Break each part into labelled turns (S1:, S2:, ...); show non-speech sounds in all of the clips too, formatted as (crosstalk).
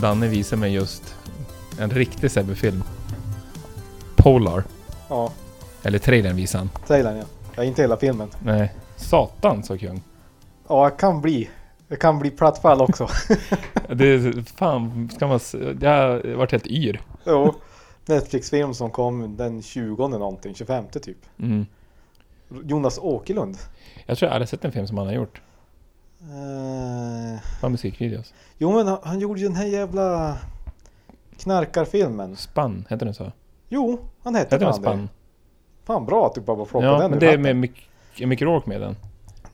S1: Danne visade mig just en riktig Sebbe-film. Polar.
S2: Ja,
S1: Eller trailern visade han.
S2: trailern ja. ja. Inte hela filmen.
S1: Nej. Satan så kung.
S2: Ja, jag kan bli. Jag kan bli plattfall
S1: (laughs)
S2: också.
S1: Det är, fan, ska man... s- Jag har varit helt yr.
S2: jo. Netflix-film som kom den 20 någonting, 25 typ.
S1: Mm.
S2: Jonas Åkerlund.
S1: Jag tror jag aldrig sett en film som han har gjort.
S2: Eh,
S1: Bara musikvideos.
S2: jo men han, han gjorde ju den här jävla knarkarfilmen.
S1: Spann, heter den så?
S2: Jo, han hette
S1: Heter den
S2: fan
S1: Spann?
S2: det. Fan bra att du bara plockade
S1: Ja,
S2: den
S1: men
S2: ur
S1: det är
S2: hatten.
S1: med Mick- är Mick Rourke med i den.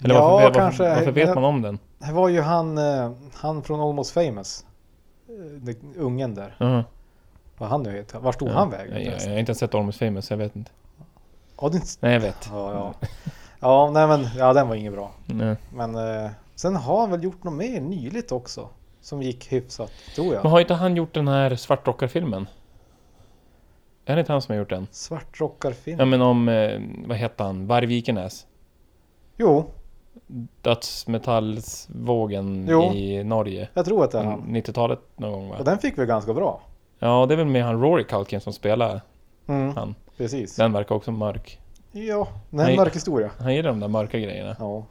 S1: Eller
S2: Ja,
S1: varför, varför,
S2: kanske.
S1: varför vet
S2: Men-
S1: man om den?
S2: Det var ju han, eh, han från Almost famous. Eh, Den ungen där.
S1: Uh-huh.
S2: Vad han nu heter. Var stod
S1: Ja.
S2: han vägen?
S1: Nej, jag, jag
S2: förresten?
S1: har inte ens sett Almost famous, så jag vet inte.
S2: Ja, det är inte...
S1: Nej, jag vet.
S2: ja, ja. ja, nej men ja, den var ingen bra.
S1: Nej.
S2: Men eh, sen har han väl gjort något mer nyligt också. Som gick hyfsat, tror jag.
S1: Men har inte han gjort den här svartrockarfilmen? Är det inte han som har gjort den?
S2: Svartrockarfilm.
S1: Ja men om, eh, vad heter han, Vargvikenäs?
S2: Jo,
S1: Dödsmetallsvågen
S2: Jo.
S1: i Norge.
S2: jag tror att det är
S1: Mm.
S2: han.
S1: 90-talet någon gång
S2: Och
S1: va?
S2: den fick vi ganska bra.
S1: Ja, det är väl med han Rory Culkin som spelar
S2: Mm,
S1: han.
S2: precis.
S1: Den verkar också mörk.
S2: Ja, det är en
S1: Nej.
S2: mörk historia.
S1: Han gillar de där mörka grejerna.
S2: Ja.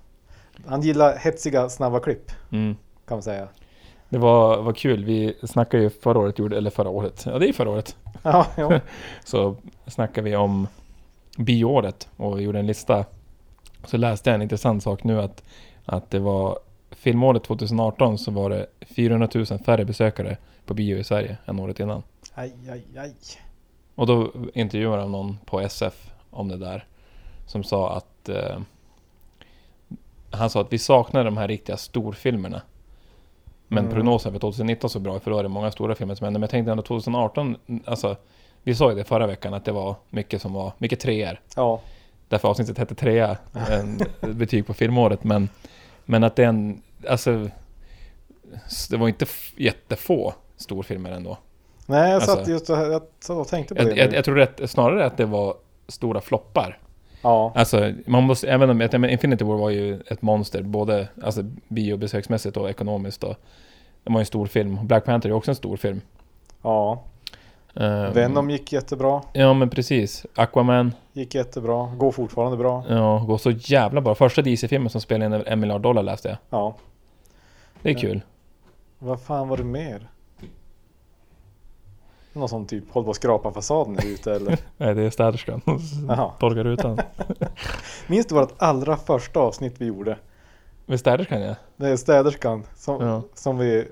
S2: Han gillar hetsiga, snabba klipp.
S1: Mm.
S2: Kan man säga.
S1: Det var, var kul, vi snackade ju förra året, gjorde, eller förra året, ja det är ju förra året.
S2: Ja,
S1: (laughs)
S2: ja.
S1: Så snackade vi om bioåret och gjorde en lista. Så läste jag en intressant sak nu att, att det var filmåret 2018 så var det 400 000 färre besökare på bio i Sverige än året innan.
S2: Aj, aj, aj.
S1: Och då intervjuade han någon på SF om det där. Som sa att... Eh, han sa att vi saknar de här riktiga storfilmerna. Men
S2: Mm.
S1: prognosen för 2019 så bra, för då är det många stora filmer som händer. Men jag tänkte ändå 2018, alltså... Vi sa ju det förra veckan att det var mycket som var, mycket treor.
S2: Ja,
S1: Därför avsnittet hette trea, en betyg på filmåret. Men, men att det är en, alltså... s- Det var inte f- jättefå storfilmer ändå.
S2: Nej, jag satt
S1: Alltså-
S2: just och, jag satt och tänkte på det.
S1: Jag, jag,
S2: nu.
S1: jag tror rätt, snarare att det var stora floppar.
S2: ja,
S1: Alltså, man måste, även om, jag menar, Infinity War var ju ett monster, både alltså, biobesöksmässigt och ekonomiskt. Och, det var ju en stor film. Black Panther är också en stor film.
S2: ja.
S1: Um,
S2: Venom gick jättebra.
S1: Ja men precis. Aquaman.
S2: Gick jättebra. Går fortfarande bra.
S1: Ja, går så jävla bra. Första DC-filmen som spelade in över en miljard dollar läste jag.
S2: Ja.
S1: Det är kul.
S2: Vad fan var det mer? Någon som typ håller på att skrapa fasaden här ute eller?
S1: (laughs) Nej, det är städerskan.
S2: Jaha.
S1: Torkar utan.
S2: Minns du vårt allra första avsnitt vi gjorde?
S1: Med städerskan ja.
S2: Det är städerskan som,
S1: Ja.
S2: som vi...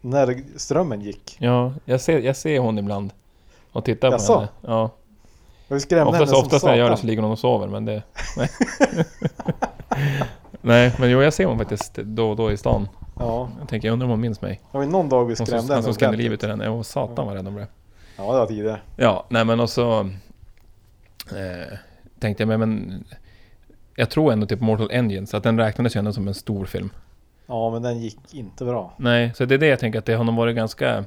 S2: När strömmen gick.
S1: Ja, jag ser, jag ser hon ibland. Och tittar på
S2: Jaså?
S1: henne. Ja.
S2: Och vi skrämde
S1: Oftast,
S2: henne som
S1: oftast när jag gör det så
S2: satan.
S1: ligger hon och sover, men det... (laughs) Nej, nej men jo, jag ser hon faktiskt då och då i stan.
S2: Ja.
S1: Jag tänker, jag undrar om hon minns mig.
S2: Det var ju någon dag vi
S1: Hon
S2: skrämde
S1: som, han
S2: henne
S1: som skrämde
S2: ordentligt.
S1: livet ur henne. Åh, satan vad rädd hon blev.
S2: Ja, det var tidigare.
S1: Ja, nej men och så... Eh, tänkte jag, men, men... Jag tror ändå typ Mortal Engines, att den räknades ju ändå som en stor film.
S2: Ja, men den gick inte bra.
S1: Nej, så det är det jag tänker att det har nog varit ganska...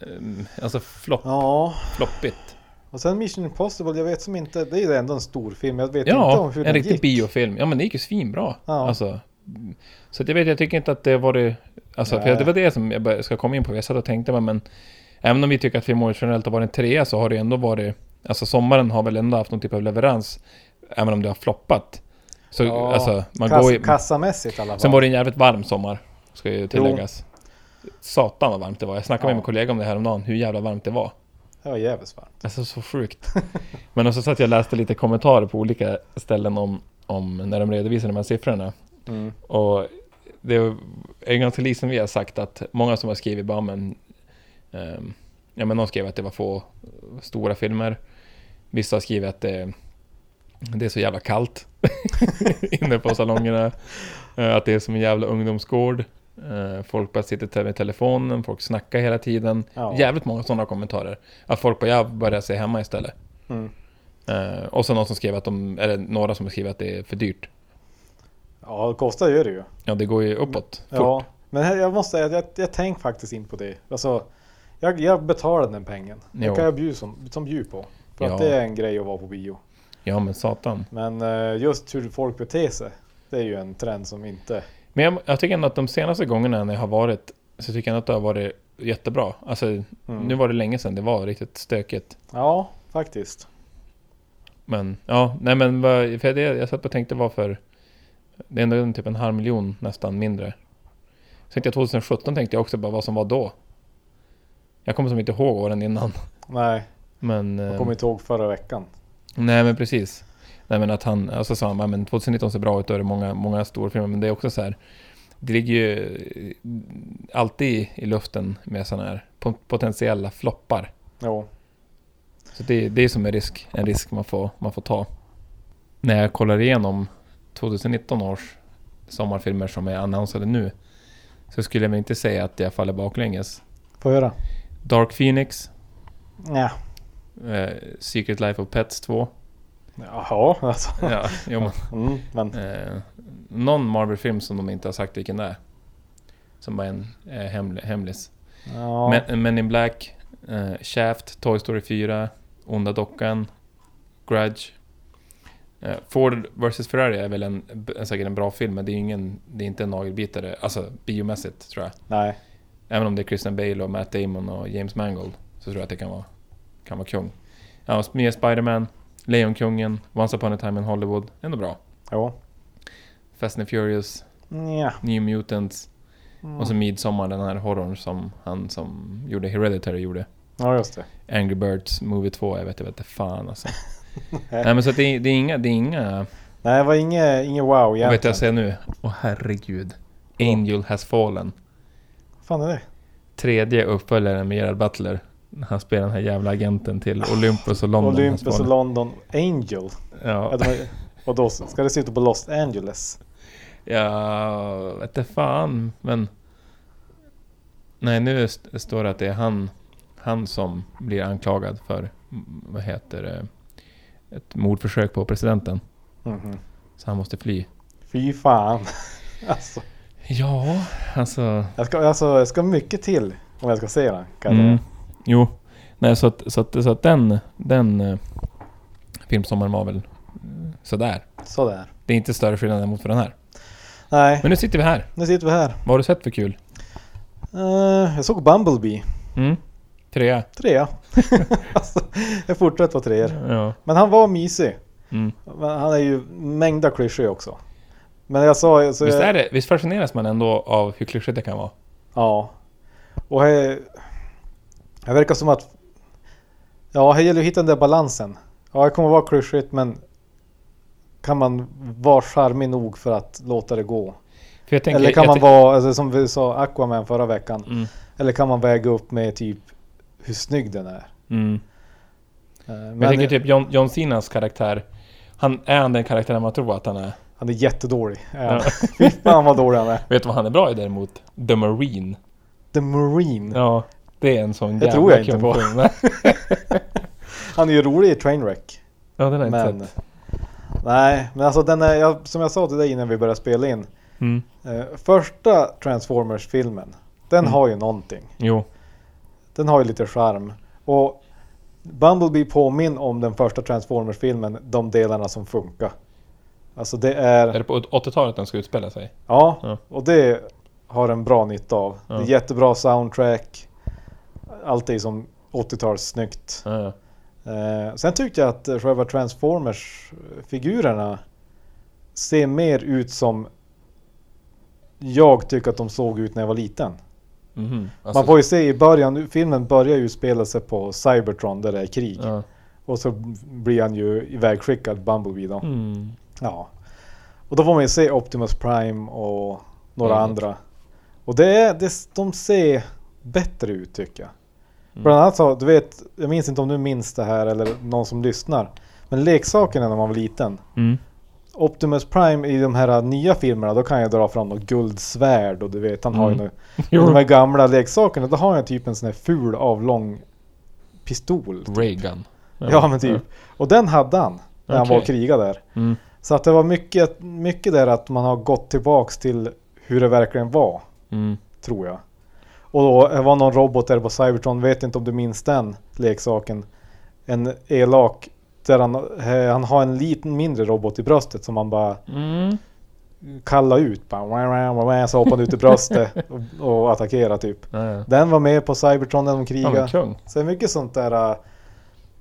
S1: ehm, Alltså flopp,
S2: Ja,
S1: floppigt.
S2: och sen Mission Impossible, jag vet som inte, det är ju ändå en stor film, jag vet inte
S1: Ja,
S2: om hur
S1: en
S2: den
S1: riktig
S2: gick.
S1: biofilm. Ja men det gick ju svinbra.
S2: Ja.
S1: Alltså, så att jag vet, jag tycker inte att det var det... Alltså, för
S2: Nej.
S1: det var det som jag bör- ska komma in på. Jag satt och tänkte, men även om vi tycker att filmåret generellt har varit en trea så har det ändå varit... Alltså sommaren har väl ändå haft någon typ av leverans, även om det har floppat. Så
S2: Ja,
S1: alltså, man
S2: Kass,
S1: går ju...
S2: Kassamässigt i alla fall.
S1: Sen var det en jävligt varm sommar, ska ju tilläggas. Satan vad varmt det var. Jag snackade med
S2: Ja.
S1: min kollega om det här om dagen, hur jävla varmt det var.
S2: det var jävligt varmt.
S1: Alltså så sjukt. Men också så att jag läste lite kommentarer på olika ställen om, om när de redovisade de här siffrorna.
S2: Mm.
S1: Och det är ganska likt som vi har sagt att många som har skrivit bara men, ehm, ja men någon skrev att det var få stora filmer. Vissa har skrivit att det, det är så jävla kallt (laughs) inne på salongerna. Eh, att det är som en jävla ungdomsgård. Eh, folk bara sitter te- med telefonen, folk snackar hela tiden.
S2: Ja.
S1: Jävligt många sådana kommentarer. Att folk bara, jag börjar se hemma istället.
S2: Mm.
S1: Eh, och så någon som skrev att de, eller några som skriver att det är för dyrt.
S2: Ja, det kostar gör det ju.
S1: Ja, det går ju uppåt fort.
S2: Ja, men här- jag måste säga att jag, jag tänker faktiskt in på det. Alltså, jag, jag betalar den pengen.
S1: Jo.
S2: Det kan jag bjuda som, som bjud på. För
S1: Ja.
S2: att det är en grej att vara på bio.
S1: Ja men satan.
S2: Men eh, just hur folk beter sig, det är ju en trend som inte...
S1: Men jag, jag tycker ändå att de senaste gångerna när jag har varit så tycker jag ändå att det har varit jättebra. Alltså,
S2: Mm.
S1: nu var det länge sedan det var riktigt stökigt.
S2: Ja, faktiskt.
S1: Men ja, nej men vad- för det, jag satt och tänkte vad för... Det är ändå typ en halv miljon nästan mindre. Så tänkte jag 2017 tänkte jag också bara vad som var då. Jag kommer som inte ihåg åren innan.
S2: Nej,
S1: Men...
S2: jag
S1: eh,
S2: kommer inte ihåg förra veckan.
S1: Nej men precis. Nej men att han, alltså sa han, "Ja, men 2019 ser bra ut, då är det många, många stora filmer, men det är också så här. Det ligger ju eh, alltid i luften med sådana här po- potentiella floppar.
S2: Jo.
S1: Så det, det är som en risk, en risk man, får, man får ta. När jag kollar igenom 2019 års sommarfilmer som är annonserade nu så skulle jag väl inte säga att jag faller baklänges.
S2: Får jag höra?
S1: Dark Phoenix,
S2: Ja.
S1: eh, Secret Life of Pets 2.
S2: Jaha, alltså.
S1: (laughs) Ja, jo, men,
S2: Mm, men
S1: eh, någon Marvel-film som de inte har sagt vilken det är. Som bara är en eh, heml- hemlis.
S2: ja.
S1: Men, Men in Black, eh, Shaft, Toy Story 4, Onda Dockan, Grudge. Eh, Ford vs Ferrari är väl en, en, säkert en bra film, men det är, ju ingen, det är inte en nagelbitare, alltså biomässigt tror jag.
S2: Nej.
S1: Även om det är Christian Bale och Matt Damon och James Mangold så tror jag att det kan vara, kan vara kung. Ja, och mer Spider-Man, Lejonkungen, Once upon a time in Hollywood, ändå bra.
S2: Jo.
S1: Fast and Furious,
S2: Nja.
S1: New Mutants
S2: Mm.
S1: och så Midsommar, den här horrorn som han som gjorde Hereditary gjorde.
S2: Ja, just det.
S1: Angry Birds Movie 2, jag vet jag vet inte fan
S2: (laughs)
S1: alltså. Nej men så att det, är- det är inga, det är inga,
S2: Nej, det var inget, inget wow
S1: vad vet jag
S2: egentligen.
S1: säger nu? Åh herregud. Angel has fallen.
S2: Vad fan är det?
S1: Tredje uppföljaren med Gerard Butler. när Han spelar den här jävla agenten till Olympus och London.
S2: Olympus
S1: has
S2: och
S1: fallen.
S2: London Angel. Ja,
S1: Ja,
S2: det var- Och då ska det se ut på Los Angeles.
S1: ja vet inte fan men. Nej nu st- står det att det är han, han som blir anklagad för, mm, vad heter det, ett mordförsök på presidenten.
S2: Mhm.
S1: Så han måste fly.
S2: Fy fan. (laughs) Alltså,
S1: Ja, alltså.
S2: jag ska, alltså, jag ska mycket till om jag ska se den. Kan jag
S1: Mm,
S2: säga.
S1: jo, nej så att, så att, så att den, den eh, filmsommaren var väl eh, sådär.
S2: Sådär.
S1: Det är inte större skillnad än mot för den här.
S2: Nej,
S1: Men nu sitter vi här.
S2: nu sitter vi här.
S1: Vad har du sett för kul?
S2: Eh, jag såg Bumblebee.
S1: Mm. Trea.
S2: Trea. (laughs) alltså, jag fortsätter på treor.
S1: Ja.
S2: Men han var mysig.
S1: Mm.
S2: Men han är ju mängda klyschor också. Men jag sa... Så
S1: Visst,
S2: jag,
S1: är det, visst fascineras man ändå av hur klyschigt det kan vara?
S2: Ja. Och här, här verkar som att... Ja, här gäller ju att hitta den där balansen. Ja, det kommer vara klyschigt men kan man vara charmig nog för att låta det gå?
S1: För jag tänker,
S2: Eller kan
S1: jag
S2: man
S1: tän-
S2: vara, alltså, som vi sa, Aquaman förra veckan.
S1: Mm.
S2: Eller kan man väga upp med typ hur snygg den är? Eh,
S1: Mm.
S2: Men,
S1: Men jag tänker typ John, John Cenas karaktär. Han, är han den karaktären man tror att han är?
S2: Han är jättedålig. Ja. (laughs)
S1: Ja.
S2: Fy fan vad dålig han är.
S1: Vet du vad han är bra i däremot? The Marine.
S2: The Marine.
S1: Ja, det är en sån
S2: Det tror jag inte
S1: kung
S2: på.
S1: film. (laughs) Nej.
S2: Han är ju rolig i Trainwreck.
S1: Ja, den har jag
S2: Men,
S1: inte sett.
S2: nej, men alltså den är, jag, som jag sa till dig innan vi började spela in.
S1: Mm.
S2: Eh, första Transformers-filmen, den
S1: Mm.
S2: har ju någonting.
S1: Jo.
S2: Den har ju lite charm. Och Bumblebee påminner om den första Transformers-filmen, de delarna som funkar. Alltså det
S1: Är
S2: är,
S1: det på 80-talet den ska utspela sig? Ja.
S2: ja, och det har en bra nytta av. Det
S1: Ja.
S2: är jättebra soundtrack. Allt är som 80-tals snyggt.
S1: Ja, ja.
S2: Eh, sen tyckte jag att eh, själva Transformers-figurerna ser mer ut som jag tycker att de såg ut när jag var liten.
S1: Mhm.
S2: Man får ju se i början, nu- filmen börjar ju spela sig på Cybertron där det är krig.
S1: ja.
S2: Och så blir han ju ivägskickad, Bumblebee då.
S1: Mm.
S2: Ja. Och då får man ju se Optimus Prime och några
S1: Mm.
S2: andra. Och det är, det, de ser bättre ut tycker jag.
S1: Mm.
S2: Bland annat så, du vet, jag minns inte om du minns det här eller någon som lyssnar. Men leksakerna när man var liten. (laughs)
S1: Mm.
S2: Optimus Prime i de här nya filmerna, då kan jag dra fram något guldsvärd och du vet, han har ju
S1: Mm.
S2: något
S1: Jo.
S2: de här gamla leksakerna, då har jag typ en sån här ful avlång pistol.
S1: Reagan.
S2: typ. Ja men typ. Och den hade han när han var och
S1: Okej.
S2: krigade där.
S1: Mm.
S2: Så att det var mycket, mycket där att man har gått tillbaks till hur det verkligen var,
S1: Mm.
S2: tror jag. Och då, det var någon robot där på Cybertron, vet inte om du minns den leksaken. En elak, där han, eh, han har en liten mindre robot i bröstet som han bara
S1: Mm.
S2: kalla ut. Bara, wah, wah, wah, wah, så hoppade han ut i bröstet och, och attackerade typ.
S1: Ja, ja.
S2: Den var med på Cybertron när de
S1: Ja,
S2: krigade.
S1: men kung.
S2: Så det är mycket sånt där uh,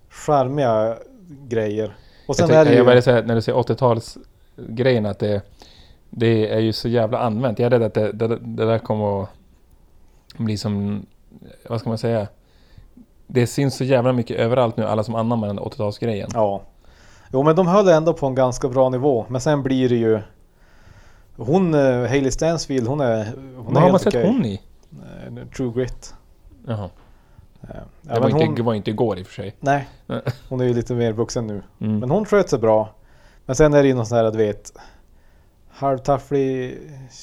S2: charmiga grejer. Och
S1: Jag,
S2: sen
S1: tycker,
S2: är det
S1: jag
S2: ju...
S1: började säga när du säger 80-talsgrejen att det, det är ju så jävla använt. Jag är rädd att det, det, det där kommer att bli som, vad ska man säga? Det syns så jävla mycket överallt nu, alla som anammar den 80-talsgrejen.
S2: Ja. Jo men de höll ändå på en ganska bra nivå. Men sen blir det ju... Hon, eh, Hailey Stansfield, hon är...
S1: Vad
S2: Hon
S1: har man
S2: helt
S1: sett
S2: okej.
S1: hon i?
S2: Eh, True Grit.
S1: Jaha.
S2: Eh,
S1: Det
S2: ja,
S1: var,
S2: men
S1: inte,
S2: hon,
S1: var inte igår i och för sig. (laughs)
S2: nej,
S1: Nej.
S2: hon är ju lite mer vuxen nu.
S1: Mm.
S2: Men hon sköt sig bra. Men sen är det ju någon sån här, du vet, halvtafflig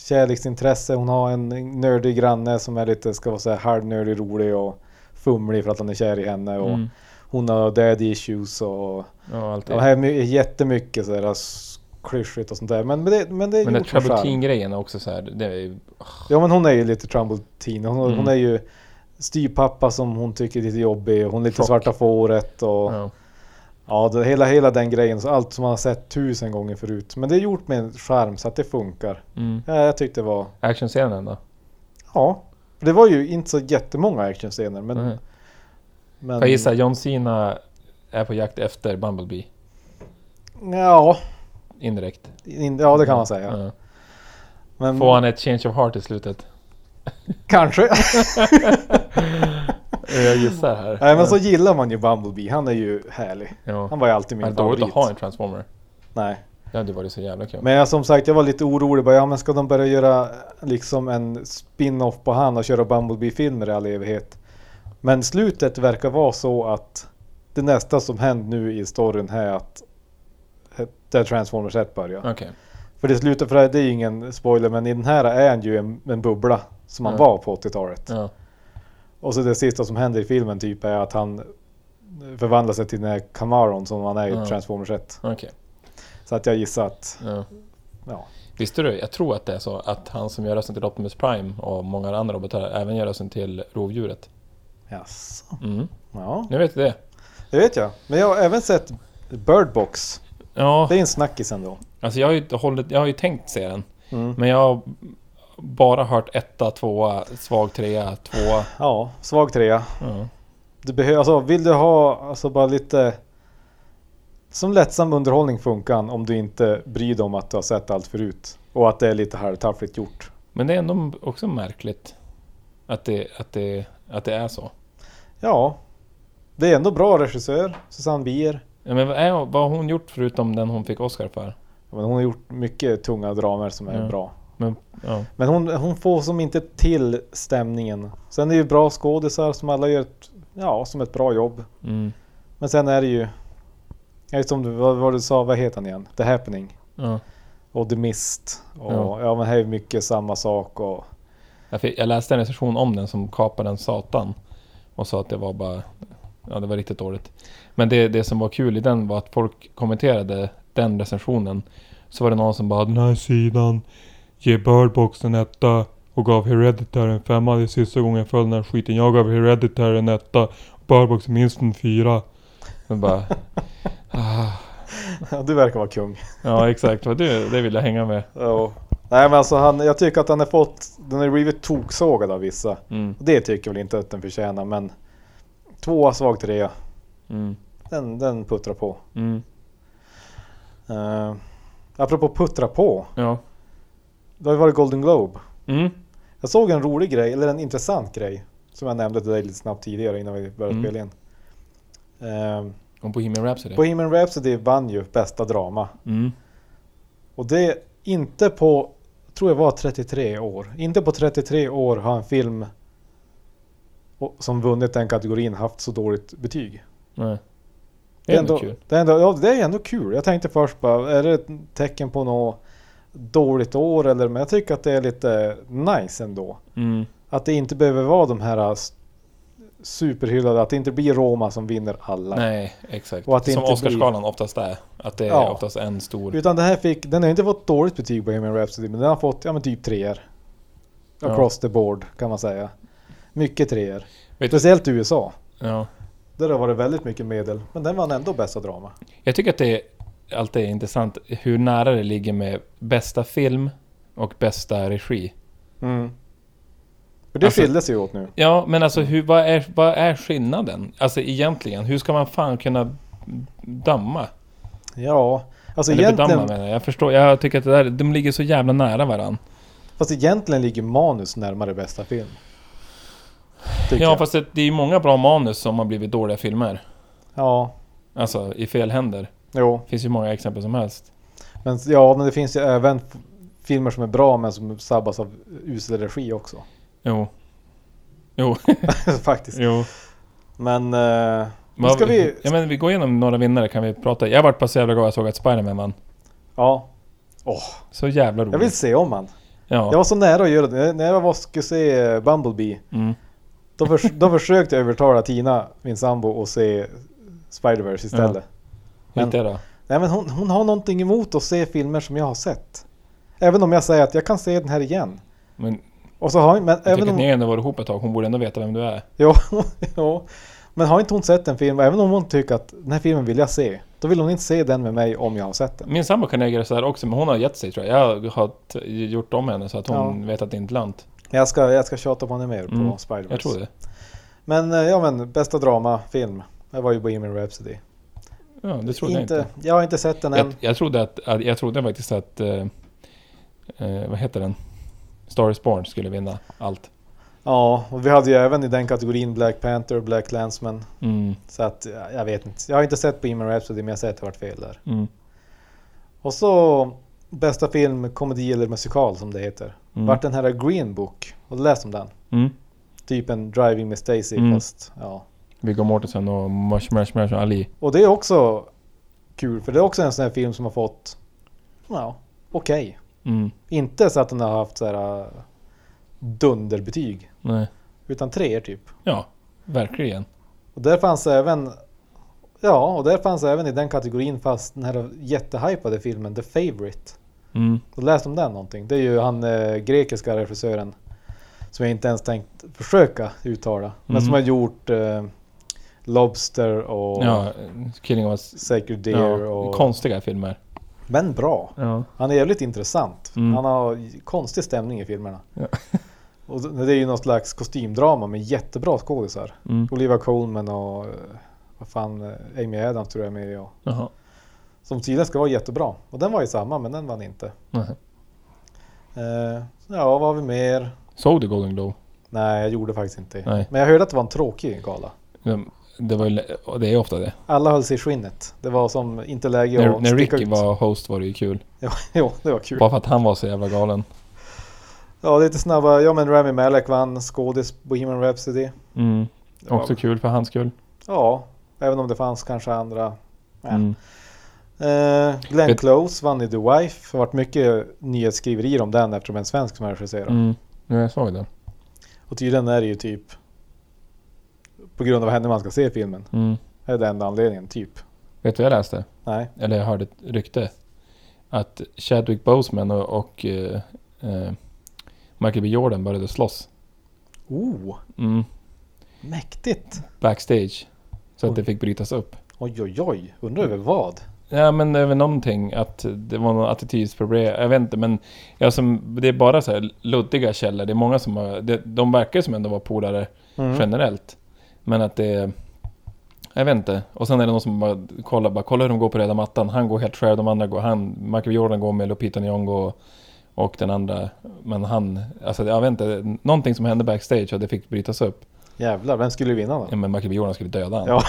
S2: kärleksintresse. Hon har en nördig granne som är lite, ska man säga, halvnördig, rolig och fumlig för att han är kär i henne. Och
S1: Mm.
S2: Hon har daddy issues och
S1: Ja, allt
S2: det här är my- jättemycket så här s- klyschigt och sånt där. Men, men det, men det är
S1: Men den
S2: gjort med charm.
S1: Trouble grejen är också så här, det är ju...
S2: Ja men hon är ju lite Trumbleteen. Hon,
S1: Mm.
S2: hon är ju styrpappa som hon tycker är lite jobbig. Hon är lite
S1: Chock.
S2: svarta fåret och ja,
S1: Ja.
S2: det, hela, hela den grejen. Så allt som man har sett tusen gånger förut. Men det är gjort med en charm så att det funkar.
S1: Mm.
S2: Ja, jag tyckte det var,
S1: Actionscenen då?
S2: ja. Det var ju inte så jättemånga actionscener men...
S1: Mm.
S2: men
S1: Jag gissar John Cena är på jakt efter Bumblebee.
S2: Ja,
S1: Indirekt.
S2: in, ja det kan man säga.
S1: Ja.
S2: Men
S1: Mm. Får han ett change of heart i slutet?
S2: kanske. (laughs)
S1: Jag gissar här.
S2: Nej men så gillar man ju Bumblebee. Han är ju härlig.
S1: Ja.
S2: Han var ju alltid
S1: Men
S2: min
S1: dåligt att ha
S2: favorit.
S1: en transformer.
S2: Nej.
S1: Det hade varit så jävla kul.
S2: Men jag, som sagt, jag var lite orolig. Bara, ja, men ska de börja göra liksom en spin-off på han och köra Bumblebee-filmer i all evighet? Men slutet verkar vara så att det nästa som händer nu i storyn här är att där Transformers 1 börjar.
S1: Okej.
S2: För det slutar, för det är ju ingen spoiler, men i den här är han ju en, en bubbla som han
S1: Ja.
S2: var på 80-talet.
S1: Ja.
S2: Och så det sista som händer i filmen typ är att han förvandlar sig till den här Camaron som han är i
S1: Ja.
S2: Transformers 1.
S1: Okej.
S2: Så att jag gissar att,
S1: Ja.
S2: ja.
S1: Visste du? Jag tror att det är så att han som gör rösten till Optimus Prime och många andra robotar även gör rösten till rovdjuret.
S2: Jaså?
S1: Mm.
S2: Ja.
S1: Nu vet du det.
S2: Det vet jag. Men jag har även sett Bird Box.
S1: Ja,
S2: Det är en snackis ändå.
S1: alltså jag har ju, inte hållit, jag har ju tänkt se den.
S2: Mm.
S1: Men jag har bara hört etta, tvåa, svag trea, tvåa.
S2: Ja, svag trea.
S1: Ja.
S2: Du behöver, alltså, vill du ha alltså, bara lite... Som lättsam underhållning funkar den om du inte bryr dig om att du har sett allt förut. Och att det är lite halvtaffligt gjort.
S1: Men det är ändå också märkligt att det, att det, att det är så.
S2: Ja. Det är ändå bra regissör, Susanne Bier.
S1: Ja, men vad, är, vad har hon gjort förutom den hon fick Oscar för?
S2: Men hon har gjort mycket tunga dramer som är
S1: Mm.
S2: bra.
S1: Men, ja.
S2: Men hon, hon får som inte till stämningen. Sen är det ju bra skådisar som alla gör ett, ja, som ett bra jobb.
S1: Mm.
S2: Men sen är det ju... Jag vet inte vad, vad du sa, vad heter han igen? The Happening
S1: ja.
S2: och The Mist. Och,
S1: Ja.
S2: ja. men här är mycket samma sak och... (laughs)
S1: Jag, fick, jag läste en recension om den som kapade en satan och sa att det var bara... Ja, det var riktigt dåligt. Men det, det som var kul i den var att folk kommenterade den recensionen. Så var det någon som bara “Den här sidan ger Birdbox en etta och gav Hereditary en femma. Det är sista gången jag följde den här skiten. Jag gav Hereditary en etta och Birdbox minst en fyra.” Men (laughs) bara... ah,
S2: Ja, du verkar vara kung.
S1: ja, exakt. Vad du, det vill jag hänga med.
S2: Ja. Nej men alltså han, jag tycker att han har fått... Den har blivit toksågad av vissa.
S1: Mm,
S2: Och det tycker jag väl inte att den förtjänar men... Tvåa, svag trea.
S1: mm,
S2: Den, den puttrar på.
S1: mm.
S2: Uh, apropå puttra på.
S1: Ja.
S2: Det har ju varit Golden Globe.
S1: Mm,
S2: Jag såg en rolig grej, eller en intressant grej. Som jag nämnde till dig lite snabbt tidigare innan vi började
S1: Mm.
S2: spela in. Ehm,
S1: och Bohemian Rhapsody.
S2: Bohemian Rhapsody vann ju bästa drama.
S1: Mm.
S2: Och det är inte på, tror jag var 33 år. Inte på 33 år har en film och- som vunnit den kategorin haft så dåligt betyg.
S1: Nej. Det är ändå
S2: ändå,
S1: kul.
S2: Det är ändå, ja, det är ändå kul. Jag tänkte först bara, är det ett tecken på något dåligt år eller? Men jag tycker att det är lite nice ändå.
S1: Mm.
S2: Att det inte behöver vara de här s- superhyllade, att det inte blir Roma som vinner alla.
S1: Nej, exakt.
S2: Och att det
S1: Som
S2: inte
S1: Oscarsgalan oftast är. Att det är
S2: Ja.
S1: oftast en stor...
S2: Utan det här fick, den har inte fått dåligt betyg på Bohemian Rhapsody, men den har fått ja, men typ treor.
S1: Ja.
S2: Across the board kan man säga. Mycket treor.
S1: Vet-
S2: Speciellt i USA.
S1: Ja.
S2: Där har det varit väldigt mycket medel, men den vann ändå bästa drama.
S1: Jag tycker att det alltid intressant hur nära det ligger med bästa film och bästa regi.
S2: Mm. För det
S1: Alltså-
S2: skiljer sig ju åt nu.
S1: Ja, men alltså hur, vad, är, vad är skillnaden? Alltså egentligen, hur ska man fan kunna damma?
S2: Ja, alltså
S1: Eller bedöma
S2: egentligen,
S1: menar jag. Jag förstår, jag tycker att det där, de ligger så jävla nära varann.
S2: fast egentligen ligger manus närmare bästa film. Tycker
S1: Ja,
S2: jag.
S1: fast det, det är ju många bra manus som har blivit dåliga filmer.
S2: Ja,
S1: Alltså i fel händer.
S2: jo.
S1: Det finns ju många exempel som helst.
S2: Men, ja, men det finns ju även f- filmer som är bra men som sabbas av usel regi också. (laughs)
S1: Jo. Jo, (laughs)
S2: Faktiskt.
S1: jo.
S2: Men... Eh, nu
S1: Vad-
S2: ska vi...
S1: Ja men vi går igenom några vinnare kan vi prata. Jag vart bara så jävla glad jag såg att Spiderman vann.
S2: Ja.
S1: Så jävla roligt.
S2: Jag vill se om han. Jag
S1: Ja.
S2: var så nära att göra det. När jag var, skulle se eh, Bumblebee,
S1: Mm.
S2: då, förs- då försökte jag övertala Tina, min sambo, att se Spider-Verse istället. Men-
S1: Inte då.
S2: Nej men hon, hon har någonting emot att se filmer som jag har sett. Även om jag säger att jag kan se den här igen.
S1: Men
S2: Och så har hon, men
S1: jag
S2: även
S1: tycker att
S2: om,
S1: ni ändå varit ihop ett tag. Hon borde ändå veta vem du är.
S2: (laughs) jo, jo, men har inte hon sett en film, även om hon tycker att den här filmen vill jag se, då vill hon inte se den med mig om jag har sett den.
S1: Min sambo kan äga det så här också men hon har gett sig tror jag. Jag har t- gjort om henne så att hon vet att det inte är lant.
S2: Jag ska, jag ska tjata på henne mer på
S1: Mm,
S2: Spider-Verse.
S1: Jag tror det.
S2: Men eh, ja men, bästa dramafilm. Det var ju Bohemian Rhapsody.
S1: Ja, det trodde jag inte.
S2: Jag har inte sett den
S1: Jag,
S2: än.
S1: jag, trodde att, att, jag trodde faktiskt att... Eh, eh, vad heter den? Star is Born skulle vinna allt.
S2: Ja, och vi hade ju även i den kategorin Black Panther och Black Landsman.
S1: Mm,
S2: Så att ja, jag vet inte. Jag har inte sett Bohemian Rhapsody men jag säger att det varit fel där.
S1: mm,
S2: Och så bästa film, komedi eller musikal som det heter.
S1: mm,
S2: Vart den här Green Book? Har du läst om den?
S1: mm.
S2: Typ en Driving Miss Daisy
S1: Mm.
S2: fast ja.
S1: Viggo Mortensen och Mush Mush Mush Ali.
S2: Och det är också kul för det är också en sån här film som har fått, ja, okej.
S1: Mm,
S2: Inte så att den har haft så här äh, dunderbetyg.
S1: nej.
S2: Utan treor typ.
S1: Ja, verkligen.
S2: Och där fanns även Ja, och där fanns även i den kategorin fast den här jättehypade filmen The Favourite.
S1: Mm,
S2: Då läste om den någonting. Det är ju han eh, grekiska regissören som jag inte ens tänkt försöka uttala. Men som
S1: Mhm.
S2: har gjort eh, Lobster och
S1: ja, Killing of a...
S2: Sacred Deer.
S1: Ja,
S2: och,
S1: konstiga filmer.
S2: men bra.
S1: Ja.
S2: Han är jävligt intressant.
S1: Mm.
S2: Han har konstig stämning i filmerna.
S1: Ja.
S2: (laughs) och det är ju någon slags kostymdrama med jättebra skådisar.
S1: Mm.
S2: Olivia Colman och eh, vad fan, eh, Amy Adams tror jag är med i. och-
S1: Jaha.
S2: Som tydligen ska vara jättebra. Och den var ju samma men den vann inte.
S1: Nej.
S2: Eh, ja, vad har vi mer?
S1: Såg du Golden Globe?
S2: Nej, jag gjorde faktiskt inte.
S1: Nej.
S2: Men jag hörde att det var en tråkig gala.
S1: De- Det var ju... lä- och Det är ofta det.
S2: Alla höll sig i skinnet. Det var som inte läge
S1: När,
S2: att
S1: när
S2: sticka
S1: Ricky
S2: ut.
S1: var host var det ju kul.
S2: (laughs) jo, det var kul.
S1: Bara för att han var så jävla galen.
S2: Ja, lite snabba. Ja, men Rami Malek vann skådis Bohemian Rhapsody.
S1: Mm.
S2: Det var-
S1: Också kul för hans skull.
S2: Ja, även om det fanns kanske andra. Nej.
S1: Mm.
S2: Eh, Glenn
S1: Vet-
S2: Close vann i The Wife. Det har varit mycket nyhetsskriverier om den eftersom det är en svensk som har regisserat.
S1: Mm. Ja, jag såg den.
S2: Och tydligen är det ju typ på grund av henne man ska se filmen.
S1: Mm.
S2: Det är den enda anledningen, typ.
S1: Vet du vad jag läste?
S2: Nej.
S1: Eller jag hörde ett rykte. Att Chadwick Boseman och, och eh, eh, Michael B Jordan började slåss.
S2: Oh,
S1: Mm.
S2: mäktigt!
S1: Backstage. Så att
S2: Oj.
S1: det fick brytas upp.
S2: Oj, oj, oj. Undrar över vad?
S1: Ja men över någonting att det var något attitydsproblem. Jag vet inte men jag som, det är bara så här luddiga källor. Det är många som har, det, de verkar som ändå vara polare
S2: Mm.
S1: generellt. Men att det jag vet inte. Och sen är det någon som bara kollar, bara kolla hur de går på röda mattan. Han går helt själv, de andra går, han, Michael Jordan går med Lupita Nyong'o och, och den andra. Men han, alltså jag vet inte, någonting som hände backstage och det fick brytas upp.
S2: Jävlar, vem skulle vinna då?
S1: Ja, men Michael Jordan skulle döda han.
S2: Ja.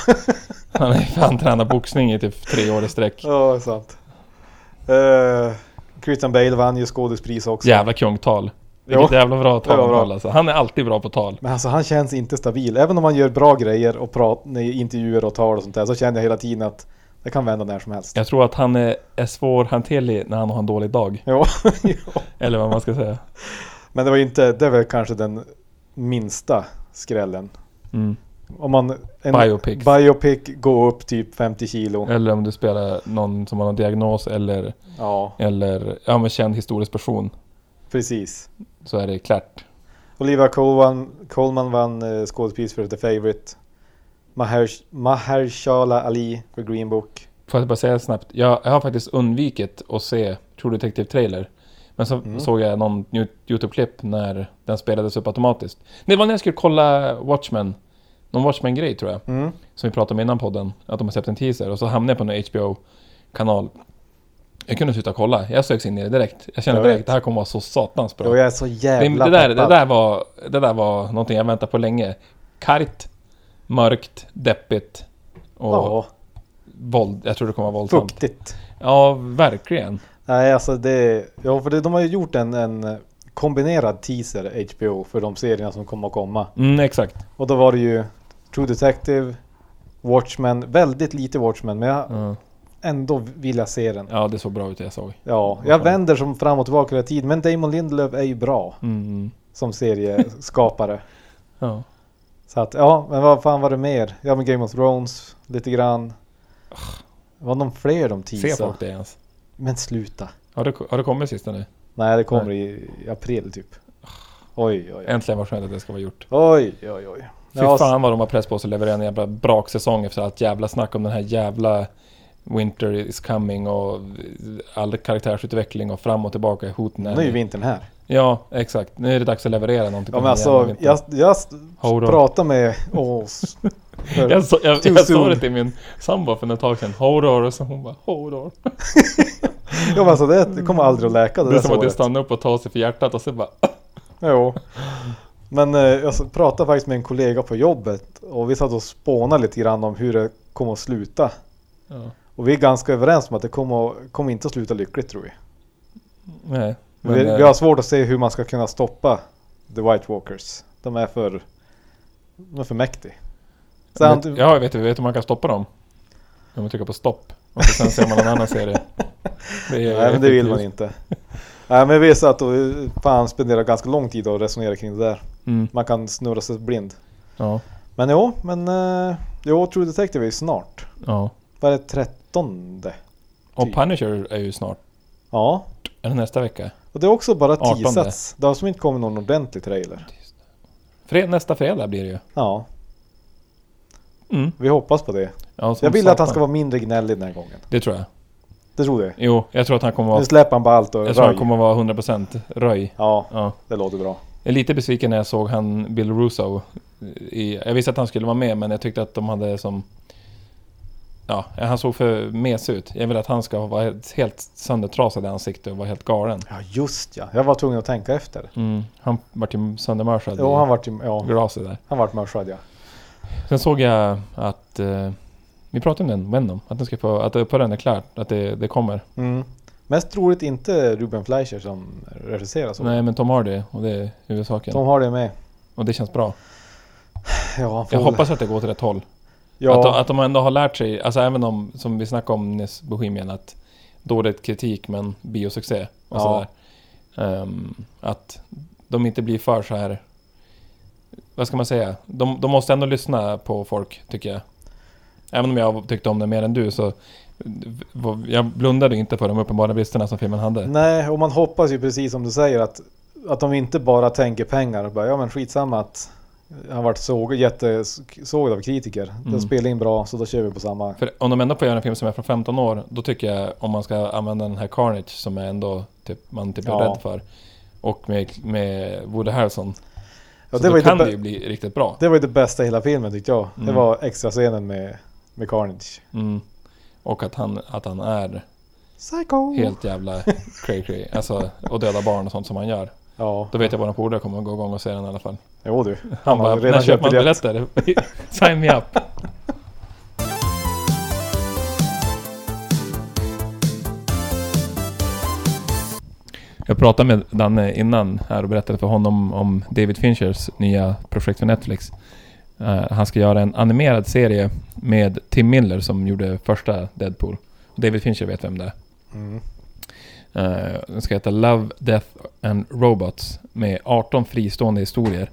S1: Han har ju fan tränat boxning i typ tre år i
S2: (laughs)
S1: sträck.
S2: Ja, det är sant. Eh, Christian Bale vann ju skådispris också.
S1: Jävla kungtal. Vilket
S2: Ja.
S1: jävla bra
S2: Det var
S1: tal han
S2: bra.
S1: håller, alltså. Han är alltid bra på tal.
S2: Men alltså han känns inte stabil. Även om han gör bra grejer och prat, nej, intervjuer och tal och sånt där så känner jag hela tiden att det kan vända när som helst.
S1: Jag tror att han är, är svårhanterlig när han har en dålig dag.
S2: Ja. (laughs)
S1: Eller vad man ska säga.
S2: Men det var ju inte, det var kanske den minsta skrällen.
S1: Mm.
S2: Om man... En
S1: Biopics.
S2: Biopic, gå upp typ 50 kilo.
S1: Eller om du spelar någon som har någon diagnos eller,
S2: Ja,
S1: eller ja, men känd historisk person.
S2: precis.
S1: Så är det klart.
S2: Olivia Colman, Colman vann eh, skådespris för The Favourite. Maher, Mahershala Ali för Green Book.
S1: Får jag bara säga snabbt. Jag, jag har faktiskt undvikit att se True Detective Trailer. Men så
S2: Mm.
S1: såg jag någon Yo- YouTube-klipp när den spelades upp automatiskt. Det var när jag skulle kolla Watchmen. Någon Watchmen-grej tror jag.
S2: Mm.
S1: Som vi pratade om innan podden. Att de har släppt en teaser. Och så hamnade jag på en HBO-kanal. Jag kunde inte sluta kolla. Jag sögs in i det direkt. Jag kände
S2: Jag
S1: direkt
S2: vet.
S1: det här kommer vara så satans bra.
S2: Jo, jag är så
S1: Det,
S2: jävla
S1: det, där, det,
S2: peppad.
S1: där var, det där var någonting jag väntat på länge. Kargt, mörkt, deppigt och
S2: Ja,
S1: våld. Jag tror det kommer vara våldsamt.
S2: fuktigt.
S1: Ja, verkligen.
S2: Nej, alltså det... Ja, för det, de har ju gjort en, en kombinerad teaser, HBO, för de serierna som kommer att komma.
S1: Mm, exakt.
S2: Och då var det ju True Detective, Watchmen, väldigt lite Watchmen, men jag
S1: Mm.
S2: ändå vill jag se den.
S1: Ja, Mm. det såg bra ut jag såg.
S2: Ja, jag vänder som fram och tillbaka hela tiden, men Damon Lindelöf är ju bra
S1: Mm, Mm. (laughs)
S2: som serieskapare.
S1: Ja.
S2: Så att, ja, men vad fan var det mer? Ja, men Game of Thrones, lite grann. Var de fler de
S1: Ser
S2: teasade?
S1: folk det ens?
S2: Men sluta.
S1: Har det, har det kommit sista nu?
S2: Nej, det kommer i i april typ. Oj, oj, oj.
S1: Äntligen var skönt att det ska vara gjort.
S2: Oj, oj, oj.
S1: Fy
S2: Ja, s-
S1: fan vad de har press på sig att leverera en jävla braksäsong efter allt jävla snack om den här jävla Winter is coming och all karaktärsutveckling och fram och tillbaka i hoten.
S2: nu är ju vintern här.
S1: Ja, exakt. Nu är det dags att leverera någonting.
S2: Ja,
S1: på
S2: men
S1: den jävla
S2: alltså,
S1: vintern.
S2: jag, jag s-
S1: Hold on.
S2: pratade med oss. för-
S1: (laughs) Jag, sa- jag,
S2: Too
S1: jag sa
S2: soon.
S1: det till min sambo för ett tag sedan. Horror. Och så hon bara horror.
S2: Ja, men alltså, det kommer aldrig att läka det,
S1: Det är
S2: där
S1: som att jag
S2: såret.
S1: stannar upp och tar sig för hjärtat och så bara...
S2: Jo. Men eh, jag s- pratade faktiskt med en kollega på jobbet och vi satt och spånade lite grann om hur det kommer att sluta.
S1: Ja.
S2: Och vi är ganska överens om att det kommer, att- kommer inte att sluta lyckligt tror vi.
S1: Nej.
S2: vi,
S1: Men, eh,
S2: vi har svårt att se hur man ska kunna stoppa The White Walkers. De är för, de är för mäktiga. Så
S1: vet-
S2: han-
S1: Ja, jag vet, jag vet hur man kan stoppa dem. Om man trycker på stopp. Och så sen ser man en annan
S2: (laughs)
S1: serie. Det är
S2: Nej men det vill man
S1: effektivt. (laughs)
S2: inte. Nej men vi satt och eh, fan spenderade ganska lång tid och resonerade kring det där.
S1: Mm.
S2: Man kan snurra sig blind.
S1: Ja.
S2: Men jo, men eh, jo, True Detective är ju snart.
S1: ja.
S2: Vad är det, trettonde?
S1: Och
S2: Typ.
S1: Punisher är ju snart.
S2: Ja,
S1: Är det nästa vecka?
S2: och det är också bara
S1: 18.
S2: teasats. Det har som inte kommit någon ordentlig trailer.
S1: Fred, nästa fredag blir det ju.
S2: Ja,
S1: Mm.
S2: vi hoppas på det.
S1: Ja, som
S2: Jag vill att
S1: satan.
S2: han ska vara mindre gnällig den här gången.
S1: Det tror jag.
S2: Det tror du?
S1: Jo, jag tror att han kommer
S2: Nu
S1: vara...
S2: släpper han bara allt och
S1: Jag tror han
S2: röj.
S1: kommer vara 100% röj.
S2: Ja,
S1: Ja.
S2: det låter bra.
S1: Jag är lite besviken när jag såg han Bill Russo. I, jag visste att han skulle vara med men jag tyckte att de hade som... Ja, han såg för mesig ut. Jag vill att han ska vara helt- helt söndertrasad i ansiktet och vara helt galen.
S2: Ja, just ja. Jag var tvungen att tänka efter.
S1: Mm, han vart ju söndermörsad
S2: Jo, han
S1: i
S2: vart ju, ja,
S1: glaset där.
S2: han vart mörsad ja.
S1: Sen såg jag att... Eh, vi pratade om den, Venom. Att, den ska få, att uppföljaren är klart, att det, det kommer.
S2: Mm. Mest troligt inte Ruben Fleischer som regisserar så.
S1: Nej, men Tom Hardy och det är huvudsaken.
S2: De har det med.
S1: Och det känns bra.
S2: Ja, han får
S1: Jag
S2: väl-
S1: hoppas att det går åt rätt håll. Att, de,
S2: Ja,
S1: att de ändå har lärt sig, alltså även om, som vi snackade om nyss, Bohemian, att dåligt kritik men biosuccé och
S2: Ja.
S1: sådär. Ehm, att de inte blir för så här, vad ska man säga? De, de måste ändå lyssna på folk, tycker jag. Även om jag tyckte om den mer än du så var- jag blundade inte för de uppenbara bristerna som filmen hade.
S2: nej, och man hoppas ju precis som du säger att, att de inte bara tänker pengar och bara ja men skitsamma att han vart såg, jättesågad av kritiker.
S1: Mm.
S2: Den spelar in bra så då kör vi på samma.
S1: För om de ändå får göra en film som är från 15 år, då tycker jag om man ska använda den här Carnage som är ändå typ, man typ är
S2: Ja.
S1: rädd för. Och med, med Woody Harrelson. så
S2: Ja, det,
S1: då
S2: var ju det,
S1: kan det ju
S2: bä-
S1: bli riktigt bra.
S2: det var ju det bästa i hela filmen tyckte jag. Det
S1: Mm.
S2: var extra scenen med, med Carnage.
S1: Mm. Och att han, att han är
S2: Psycho!
S1: helt jävla cray cray. Alltså, och döda barn och sånt som han gör.
S2: Ja,
S1: Då vet jag bara att polare kommer att gå igång och se den i alla fall.
S2: jo du.
S1: Han
S2: Han
S1: bara,
S2: har
S1: när
S2: redan
S1: köper
S2: köpt
S1: man
S2: biljett.
S1: biljetter? (laughs) Sign me up. Jag pratade med Danne innan här och berättade för honom om David Finchers nya projekt för Netflix. Eh, han ska göra en animerad serie med Tim Miller som gjorde första Deadpool. Och David Fincher vet vem det är.
S2: Mm.
S1: Eh, Den ska heta Love, Death and Robots med 18 fristående historier.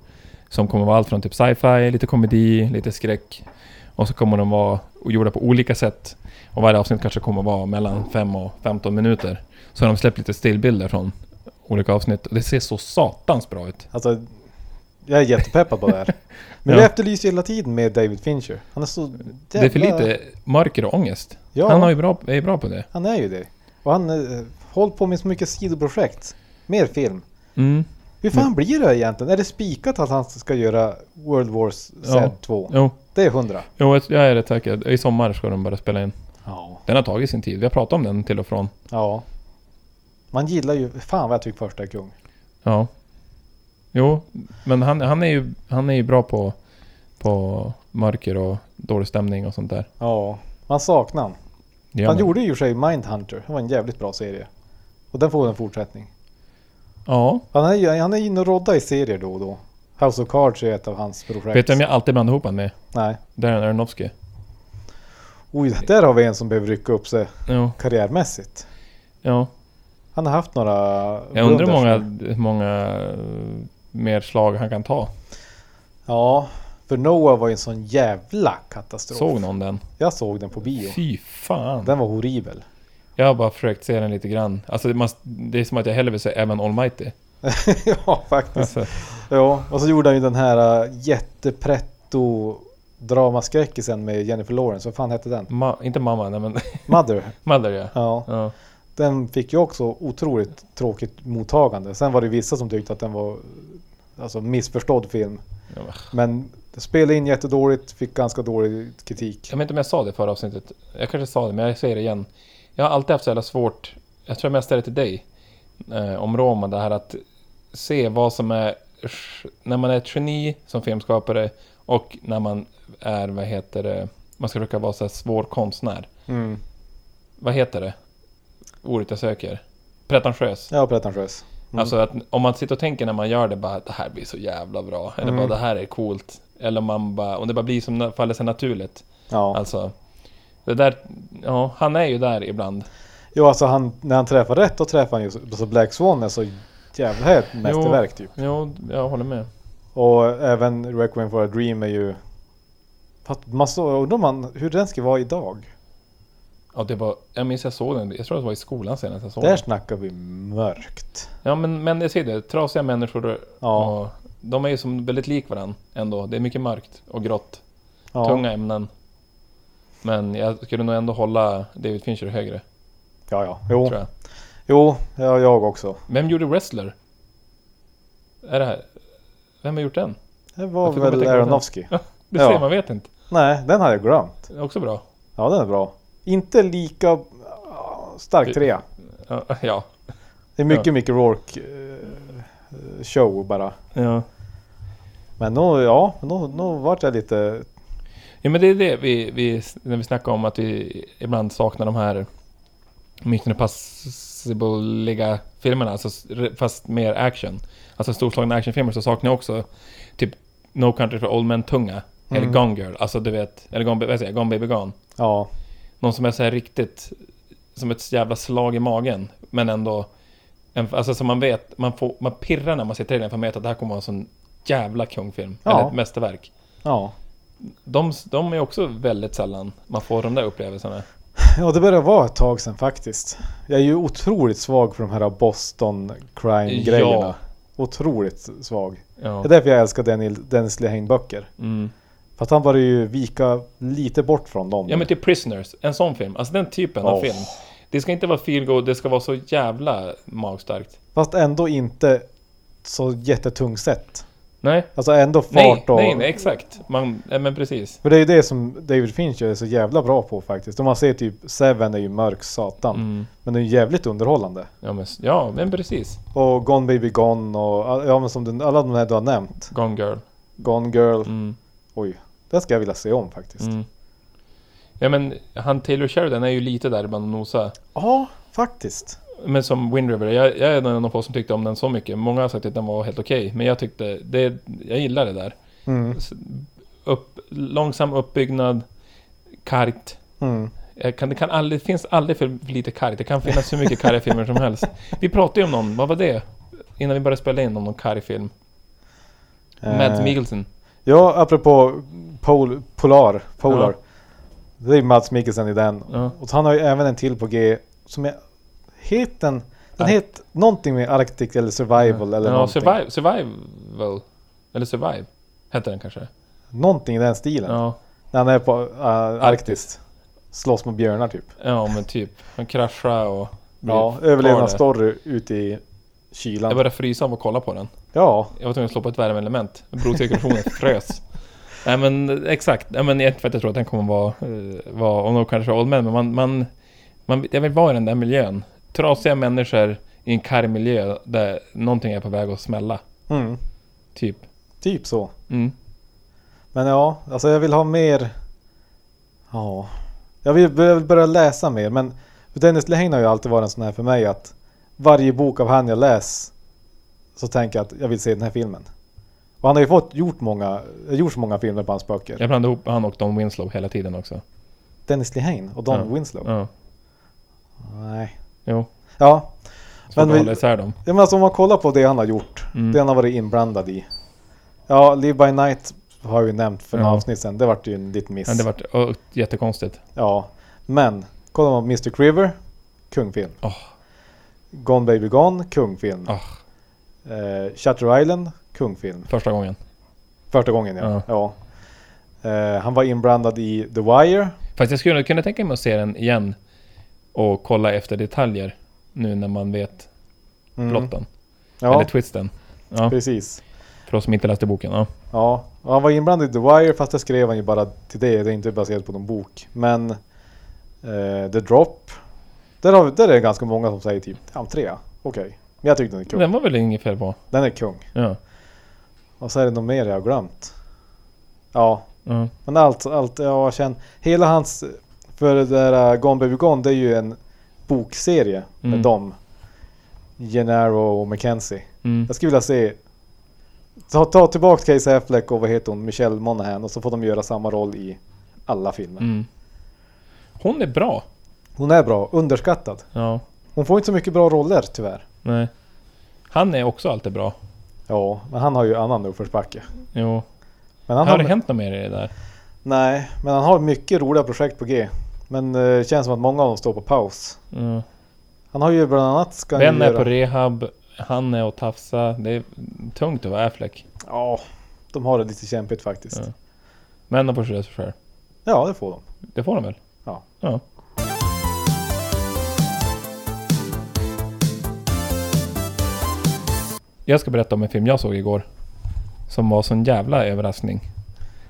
S1: Som kommer vara allt från typ sci-fi, lite komedi, lite skräck. Och så kommer de vara gjorda på olika sätt. Och varje avsnitt kanske kommer vara mellan 5 och 15 minuter. Så har de släppt lite stillbilder från olika avsnitt. Och det ser så satans bra ut. (laughs)
S2: Alltså, jag är jättepeppad på det här. Men
S1: Ja.
S2: jag efterlyser hela tiden med David Fincher. Han är så jävla...
S1: Det är för lite mörker och ångest.
S2: Ja,
S1: Han har ju bra, är ju bra på det.
S2: han är ju det. Och han eh, håller på med så mycket sidoprojekt. Mer film.
S1: Mm.
S2: Hur fan blir det egentligen? Är det spikat att han ska göra World Wars Z
S1: Ja.
S2: 2?
S1: Jo,
S2: Det är hundra.
S1: jo, jag- jag är rätt säker. I sommar ska de börja spela in.
S2: Ja.
S1: Den har tagit sin tid. Vi har pratat om den till och från.
S2: Ja. Man gillar ju... Fan vad jag tycker första är kung.
S1: Ja. Jo, men han, han, är, ju, han är ju bra på, på mörker och dålig stämning och sånt där.
S2: Ja. Man saknar han.
S1: Det gör
S2: han
S1: man.
S2: gjorde ju i och för sig Mindhunter. Det var en jävligt bra serie. Och den får en fortsättning.
S1: Ja.
S2: Han är ju han är ju inne och roddar i serier då och då. House of Cards är ett av hans projekt.
S1: Vet du vem jag alltid blandar ihop honom med?
S2: Nej.
S1: Darren Aronofsky.
S2: Oj, där har vi en som behöver rycka upp sig
S1: Jo,
S2: karriärmässigt.
S1: ja.
S2: Han har haft några...
S1: Jag undrar hur många,
S2: blunders.
S1: hur många eh, mer slag han kan ta.
S2: Ja. För Noah var ju en sån jävla katastrof.
S1: Såg någon den?
S2: Jag såg den på bio.
S1: Fy fan.
S2: Den var horribel. (laughs)
S1: Jag har bara försökt se den lite grann. Alltså det, man, det är som att jag hellre vill se Evan Almighty.
S2: ja, faktiskt.
S1: Alltså,
S2: Ja, och så gjorde han ju den här äh, jättepretto dramaskräckisen med Jennifer Lawrence. Vad fan hette den?
S1: ma- inte mamma, nej men (laughs)
S2: Mother.
S1: Mother ja.
S2: Ja,
S1: ja.
S2: den fick ju också otroligt tråkigt mottagande. Sen var det vissa som tyckte att den var alltså missförstådd film.
S1: Ja, men-
S2: Men det spelade in jättedåligt, fick ganska dålig kritik.
S1: Jag vet inte om jag sa det i förra avsnittet. Jag kanske sa det, men jag säger det igen. Jag har alltid haft så jävla svårt, jag tror jag mest är det till dig, eh, om Roma, det här att se vad som är, när man är ett geni som filmskapare och när man är, vad heter det, man ska försöka vara så här svår konstnär.
S2: Mm.
S1: Vad heter det? Ordet jag söker. Pretentiös.
S2: Jag var pretentiös. Mm.
S1: Alltså att om man sitter och tänker när man gör det bara det här blir så jävla bra. Eller
S2: Mm.
S1: bara det här är coolt. Eller om man bara, om det bara blir som na- faller sig naturligt.
S2: Ja.
S1: Alltså, det där, ja, han är ju där ibland.
S2: Jo, alltså han, när han träffar rätt då träffar han ju så så Black Swan är så jävla ett mästerverk typ.
S1: Jo, jag håller med.
S2: Och även Requiem for a Dream är ju... Fast Man så, undrar man hur den ska vara idag?
S1: Ja, det var, jag minns jag såg den, jag tror det var i skolan senast jag såg
S2: Där
S1: den.
S2: snackar vi mörkt.
S1: Ja, men, men jag ser det, trasiga människor
S2: Ja.
S1: och de är ju som väldigt lik varandra ändå. Det är mycket mörkt och grått,
S2: Ja.
S1: tunga ämnen. Men jag skulle nog ändå hålla David Fincher högre,
S2: Ja, ja. Jo,
S1: tror jag.
S2: jo ja, jag också.
S1: Vem gjorde Wrestler? Är det här? Vem har gjort den?
S2: Det
S1: Jag
S2: var
S1: får gå och
S2: väl
S1: tänka på den.
S2: Aronofsky.
S1: Det
S2: Ja.
S1: ser man vet inte.
S2: Nej, den hade jag glömt.
S1: Också bra.
S2: Ja, den är bra. Inte lika ah, stark trea.
S1: Ja. (laughs) Ja.
S2: Det är mycket Mickey Rourke eh, show bara.
S1: ja.
S2: Men nog, ja, nog, nog vart jag lite...
S1: Ja men det är det vi, vi när vi snackar om att vi ibland saknar de här Mission Impossible-liga filmerna, alltså, s- re- fast mer action. Alltså storslagna actionfilmer så saknar jag också typ No Country for Old Men-tunga.
S2: Mm.
S1: Eller Gone Girl, alltså du vet, eller Gone, Ba- vad säger jag, Gone Baby Gone.
S2: Ja,
S1: Någon som är så här riktigt, som ett jävla slag i magen, men ändå, en, alltså som man vet, man, får, man pirrar när man sitter i den för man vet att det här kommer vara en sån jävla kungfilm,
S2: Ja.
S1: eller ett mästerverk.
S2: ja. (laughs)
S1: De, de är också väldigt sällan man får de där upplevelserna.
S2: Ja, det börjar vara ett tag sedan faktiskt. Jag är ju otroligt svag för de här Boston crime-grejerna.
S1: Ja.
S2: Otroligt svag.
S1: Ja.
S2: Det är därför jag älskar Daniel, Dennis Lehane-böcker.
S1: Mm.
S2: För att han börjar ju vika lite bort från dem.
S1: ja men typ Prisoners, en sån film. Alltså den typen av
S2: Åh.
S1: film. Det ska inte vara feelgood, det ska vara så jävla magstarkt.
S2: Fast ändå inte så jättetung sätt.
S1: Nej,
S2: Alltså ändå fart
S1: nej,
S2: och...
S1: nej, nej, exakt. Man, ja, men precis.
S2: För det är ju det som David Fincher är så jävla bra på faktiskt. Om man ser typ Seven är ju mörk satan.
S1: Mm.
S2: Men den är ju jävligt underhållande.
S1: Ja, men, s- ja, men precis.
S2: Och Gone Baby Gone och ja, men som den, alla de här du har nämnt.
S1: Gone Girl.
S2: Gone Girl.
S1: Mm.
S2: Oj, den ska jag vilja se om faktiskt.
S1: Mm. Ja men han Taylor Sheridan är ju lite där ibland och nosa.
S2: Ja, faktiskt.
S1: Men som Wind River, jag, jag är en av de få som tyckte om den så mycket. Många har sagt att den var helt okej, men jag tyckte, det, jag gillar det där.
S2: Mm.
S1: S- upp, långsam uppbyggnad, kargt.
S2: Mm.
S1: Eh, Kan, det, kan aldrig, finns aldrig för lite kargt. Det kan finnas hur mycket karga filmer som helst. Vi pratade ju om någon, vad var det? Innan vi började spela in om någon karg film. Mads
S2: Eh,
S1: Mikkelsen.
S2: Ja, apropå Pol, Polar.
S1: Ja.
S2: Polar. Det är Mats Mikkelsen i den.
S1: Ja.
S2: Och han har ju även en till på G som är... Het den? Den
S1: Ar-
S2: heter någonting med Arctic eller Survival eller
S1: ja,
S2: någonting.
S1: survive, Survival. Eller Survive. Hette den kanske?
S2: Någonting i den stilen.
S1: Ja.
S2: När han är på uh, Arktis. Slåss med björnar typ.
S1: Ja, men typ. Han kraschade och... blev
S2: Ja,
S1: kvar där.
S2: överlevnadsstory ute i
S1: Jag
S2: kylan.
S1: började frysa av att kolla på den.
S2: Ja,
S1: Jag var tvungen att slå på ett värmeelement.
S2: (laughs)
S1: Blodcirkulationen frös. Nej men exakt. Nej, men inte för att jag tror att den kommer vara... eh, vara och nog kanske Old Man, men man, man, man... Jag vill vara i den där miljön. Trasiga människor i en karg miljö där någonting är på väg att smälla.
S2: mm,
S1: Typ.
S2: typ så.
S1: Mm.
S2: Men ja, alltså jag vill ha mer... Ja... Jag vill, jag vill börja läsa mer men Dennis Lehane har ju alltid varit en sån här för mig att varje bok av han jag läser så tänker jag att jag vill se den här filmen. Och han har ju fått gjort många, gjort så många filmer på hans böcker.
S1: Jag blandade ihop han och Don Winslow hela tiden också.
S2: Dennis Lehane och Don
S1: Ja.
S2: Winslow.
S1: Ja.
S2: Nej.
S1: Jo.
S2: Ja,
S1: Svårt att
S2: vi-
S1: hålla isär dem.
S2: jag menar alltså om man kollar på det han har gjort,
S1: Mm.
S2: det han har varit inblandad i. Ja, Live by Night har jag ju nämnt för några
S1: Ja.
S2: avsnitt sedan, det vart ju en liten miss.
S1: Men det vart ö, jättekonstigt.
S2: Ja, men kollar man på Mr. Criver, kungfilm.
S1: Åh.
S2: Gone Baby Gone, kungfilm.
S1: Åh.
S2: Eh, Shutter Island, kungfilm.
S1: Första gången.
S2: Första gången ja.
S1: Ja.
S2: ja. Eh, han var inblandad i The Wire. Mm.
S1: Fast jag skulle kunna tänka mig att se den igen och kolla efter detaljer nu när man vet
S2: Mm.
S1: plotten.
S2: Ja,
S1: Eller twisten. Ja,
S2: precis.
S1: för oss som inte läste boken. Ja.
S2: Ja, och han var inblandad i The Wire fast det skrev han ju bara till det. Det är inte baserat på någon bok. Men eh, The Drop. Där, har, vi- där är det ganska många som säger typ, ja trea, okej. Men jag tyckte den är kung.
S1: Den var väl inget fel på.
S2: Den är kung.
S1: Ja.
S2: Och så är det något mer jag har glömt. Ja,
S1: Ja.
S2: men allt, allt jag känner. Hela hans, för det där äh, Gone Baby Gone, det är ju en bokserie med
S1: Mm.
S2: dem. Gennaro och Mackenzie.
S1: Mm.
S2: Jag skulle vilja se, ta, ta tillbaka Casey Affleck och vad heter hon, Michelle Monaghan och så får de göra samma roll i alla filmer.
S1: Mm. Hon är bra.
S2: Hon är bra, underskattad.
S1: Ja.
S2: Hon får inte så mycket bra roller tyvärr.
S1: Nej. Han är också alltid bra.
S2: Ja, men han har ju annan uppförsbacke.
S1: Jo.
S2: Men han
S1: har
S2: har,
S1: det hänt något mer i det där?
S2: nej, men han har mycket roliga projekt på G. Men eh, det känns som att många av dem står på paus.
S1: Ja.
S2: Han har ju bland annat... Ska han
S1: Ben
S2: ju
S1: är på
S2: göra-
S1: rehab. Han är och tafsa. Det är tungt att vara Affleck.
S2: Ja, de har det lite kämpigt faktiskt.
S1: Ja. Men de får skydda sig själv.
S2: Ja, det får de.
S1: Det får de väl?
S2: Ja.
S1: ja. Jag ska berätta om en film jag såg igår. Som var sån jävla överraskning.